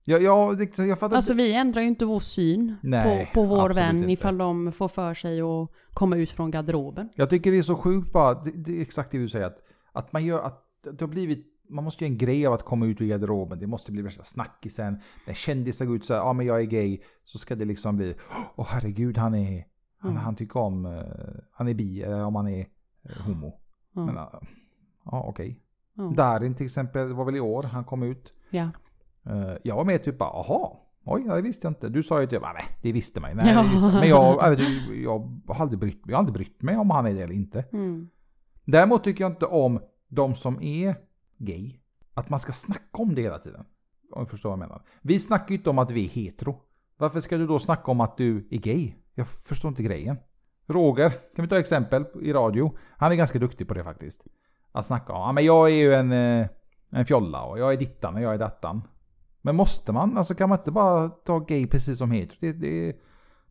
Speaker 1: Jag, jag, det, jag fattar
Speaker 2: Alltså vi ändrar ju inte vår syn
Speaker 1: Nej,
Speaker 2: på, på vår
Speaker 1: absolut
Speaker 2: vän
Speaker 1: inte.
Speaker 2: ifall de får för sig att komma ut från garderoben.
Speaker 1: Jag tycker det är så sjukt bara, det, det är exakt det du säger, att, att man gör, att det har blivit, man måste göra en grej av att komma ut ur garderoben, det måste bli värsta snackisen, när kändisar går ut och säger, ja ah, men jag är gay, så ska det liksom bli, åh herregud han är, han,
Speaker 2: Mm.
Speaker 1: han tycker om, eh, han är bi, eller om han är eh, homo.
Speaker 2: Ja.
Speaker 1: Men, ja, ja okej.
Speaker 2: Ja.
Speaker 1: Darin till exempel, det var väl i år han kom ut.
Speaker 2: Ja.
Speaker 1: Eh, Jag var med typ bara, aha, oj, ja, det visste jag inte. Du sa ju typ, "Ah, nej, det visste man ju. Nej,
Speaker 2: Ja.
Speaker 1: det visste man. Men jag, jag, vet inte, jag, har aldrig brytt, jag har aldrig brytt mig om han är det eller inte.
Speaker 2: Mm.
Speaker 1: Däremot tycker jag inte om de som är gay. Att man ska snacka om det hela tiden. Om du förstår vad jag menar. Vi snackar ju inte om att vi är hetero. Varför ska du då snacka om att du är gay? Jag förstår inte grejen. Roger, kan vi ta exempel i radio? Han är ganska duktig på det faktiskt. Att snacka om, ja men jag är ju en, eh, en fjolla och jag är dittan och jag är dattan. Men måste man? Alltså kan man inte bara ta gay precis som hetero? Det, det,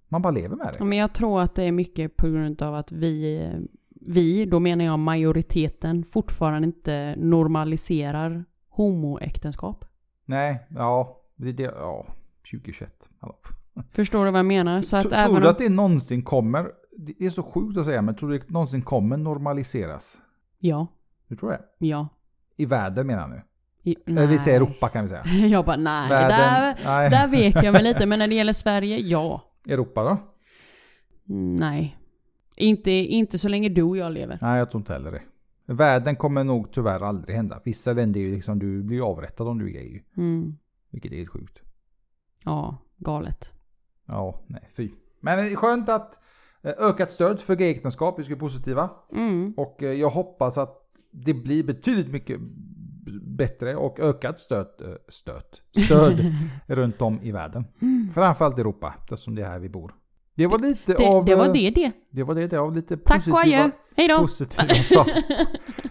Speaker 1: man bara lever med det.
Speaker 2: Men jag tror att det är mycket på grund av att vi, vi, då menar jag majoriteten, fortfarande inte normaliserar homoäktenskap.
Speaker 1: Nej, ja. Det, det, ja 2021. Hallå.
Speaker 2: Förstår du vad jag menar? Så att
Speaker 1: Tro-
Speaker 2: även
Speaker 1: tror
Speaker 2: om...
Speaker 1: du att det någonsin kommer, det är så sjukt att säga, men tror du det någonsin kommer normaliseras?
Speaker 2: Ja,
Speaker 1: Du tror det?
Speaker 2: ja.
Speaker 1: I världen menar jag nu.
Speaker 2: I-
Speaker 1: Eller vi säger
Speaker 2: nej.
Speaker 1: Europa kan vi säga.
Speaker 2: Jag bara nej,
Speaker 1: världen,
Speaker 2: där,
Speaker 1: nej.
Speaker 2: där vek jag mig lite. Men när det gäller Sverige, ja.
Speaker 1: Europa då?
Speaker 2: Nej. Inte, inte så länge du och jag lever.
Speaker 1: Nej, jag tror inte heller det. Världen kommer nog tyvärr aldrig hända. Vissa länder är ju liksom, du blir ju avrättad om du är gay. ju.
Speaker 2: Mm.
Speaker 1: Vilket är helt sjukt.
Speaker 2: Ja, galet.
Speaker 1: Ja, nej, fy. Men det är skönt att eh, ökat stöd för gayäktenskap, vi ska ju positiva.
Speaker 2: Mm.
Speaker 1: Och eh, jag hoppas att det blir betydligt mycket bättre och ökat stöd, eh, stöd, stöd runt om i världen. Framförallt Europa, eftersom det är här vi bor. Det var lite
Speaker 2: Det,
Speaker 1: av...
Speaker 2: det var
Speaker 1: eh,
Speaker 2: det det.
Speaker 1: Det var det, det av lite
Speaker 2: Tack och adjö.
Speaker 1: positiva,
Speaker 2: Hej då.
Speaker 1: positiva saker.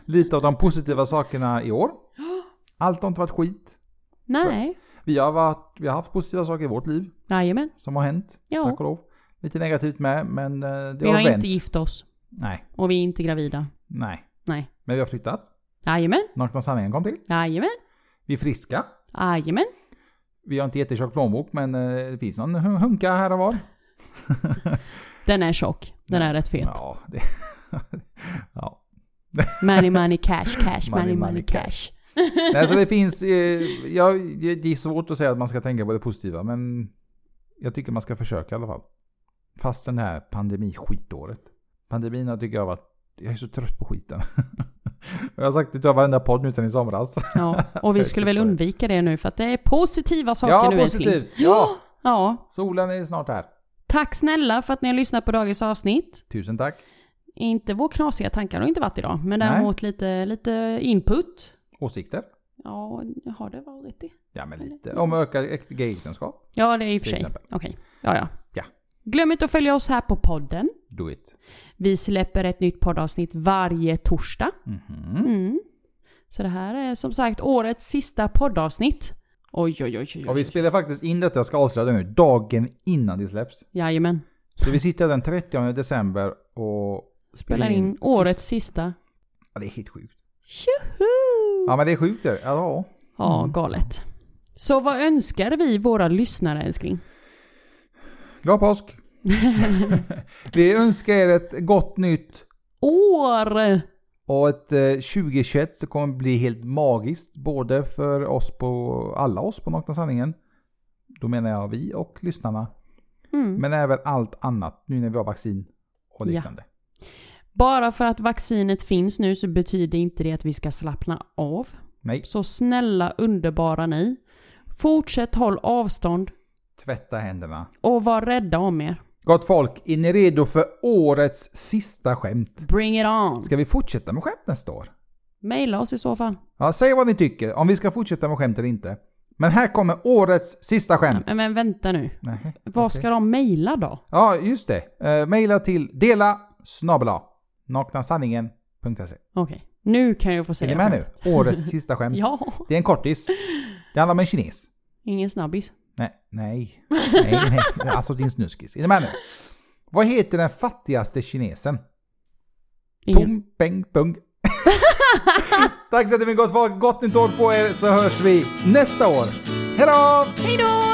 Speaker 1: Lite av de positiva sakerna i år. Allt har inte varit skit.
Speaker 2: Nej.
Speaker 1: Vi har, varit, vi har haft positiva saker i vårt liv
Speaker 2: Jajamän.
Speaker 1: som har hänt. Tack
Speaker 2: Ja.
Speaker 1: och lov. Lite negativt med, men eh, det
Speaker 2: Vi har
Speaker 1: vänt.
Speaker 2: inte gift oss.
Speaker 1: Nej,
Speaker 2: Och vi är inte gravida.
Speaker 1: nej.
Speaker 2: Nej.
Speaker 1: Men vi har flyttat.
Speaker 2: Jajamän.
Speaker 1: Nakna sanningen kom till.
Speaker 2: Jajamän.
Speaker 1: Vi är friska.
Speaker 2: Jajamän.
Speaker 1: Vi har inte jättetjock plånbok men eh, det finns någon hun- hunka här och var.
Speaker 2: Den är tjock. Den
Speaker 1: Nej.
Speaker 2: är rätt fet.
Speaker 1: Ja, det... ja.
Speaker 2: Money, money, cash, cash, money, money,
Speaker 1: money,
Speaker 2: cash.
Speaker 1: Nej, så det finns... Eh, ja, det det är svårt att säga att man ska tänka på det positiva men jag tycker man ska försöka i alla fall. Fast den här pandemiskitåret. Pandemin har tycker jag varit... Jag är så trött på skiten. jag har sagt det till varenda podd nu sedan i somras.
Speaker 2: Ja. Och vi skulle väl undvika det nu för att det är positiva saker
Speaker 1: ja,
Speaker 2: nu älskling.
Speaker 1: positivt! Ja,
Speaker 2: Ja.
Speaker 1: solen är snart här.
Speaker 2: Tack snälla för att ni har lyssnat på dagens avsnitt.
Speaker 1: Tusen tack.
Speaker 2: Inte vår knasiga tankar har inte varit idag, men
Speaker 1: Nej.
Speaker 2: däremot lite, lite input.
Speaker 1: Åsikter?
Speaker 2: Ja, har det varit det?
Speaker 1: Ja, men lite. Om ökad äkt- gayäktenskap.
Speaker 2: Ja, det är i och för
Speaker 1: Till
Speaker 2: sig.
Speaker 1: exempel.
Speaker 2: Okej. Ja, ja,
Speaker 1: Ja.
Speaker 2: Glöm inte att följa oss här på podden.
Speaker 1: Do it.
Speaker 2: Vi släpper ett nytt poddavsnitt varje torsdag.
Speaker 1: Mhm.
Speaker 2: Mm. Så det här är som sagt årets sista poddavsnitt. Oj, oj, oj. oj,
Speaker 1: Och vi
Speaker 2: oj.
Speaker 1: spelar faktiskt in detta, jag ska avslöja det nu, dagen innan det släpps.
Speaker 2: Jajamän.
Speaker 1: Så vi sitter den 30 december och
Speaker 2: Spelar in årets sista.
Speaker 1: Ja, det är helt sjukt.
Speaker 2: Tjoho! Mm.
Speaker 1: Ja, men det är sjukt det. Ja,
Speaker 2: Ja, galet. Så vad önskar vi våra lyssnare älskling?
Speaker 1: Glad påsk! Vi önskar er ett gott nytt
Speaker 2: År!
Speaker 1: och ett eh, 2021 så kommer det bli helt magiskt. Både för oss på, alla oss på Nakna Sanningen. Då menar jag vi och lyssnarna.
Speaker 2: Mm.
Speaker 1: Men även allt annat nu när vi har vaccin och
Speaker 2: Ja.
Speaker 1: liknande.
Speaker 2: Bara för att vaccinet finns nu så betyder inte det att vi ska slappna av.
Speaker 1: Nej,
Speaker 2: Så snälla underbara ni. Fortsätt håll avstånd
Speaker 1: tvätta händerna.
Speaker 2: och var rädda om er.
Speaker 1: Gott folk, är ni redo för årets sista skämt?
Speaker 2: Bring it on!
Speaker 1: Ska vi fortsätta med skämt nästa år?
Speaker 2: Maila oss i så fall.
Speaker 1: Ja, säg vad ni tycker, om vi ska fortsätta med skämt eller inte. Men här kommer årets sista skämt.
Speaker 2: Men, men vänta nu.
Speaker 1: Nej.
Speaker 2: Vad
Speaker 1: Mm. okej.
Speaker 2: ska de mejla då?
Speaker 1: Ja, just det. Eh, maila till dela snabela naknasanningen.se.
Speaker 2: Okej, nu kan jag få
Speaker 1: Är ni
Speaker 2: säga
Speaker 1: med
Speaker 2: skämt.
Speaker 1: nu? Årets sista skämt.
Speaker 2: Ja,
Speaker 1: Det är en kortis. Det handlar om en kines.
Speaker 2: ingen snabbis.
Speaker 1: Nej, nej, nej, nej. Alltså din snuskis. Är ni med nu? Vad heter den fattigaste kinesen?
Speaker 2: Ingen.
Speaker 1: Pum, peng, pung. Tack så jättemycket gott folk. Gott nytt år på er så hörs vi nästa år. Hej då!
Speaker 2: Hej då!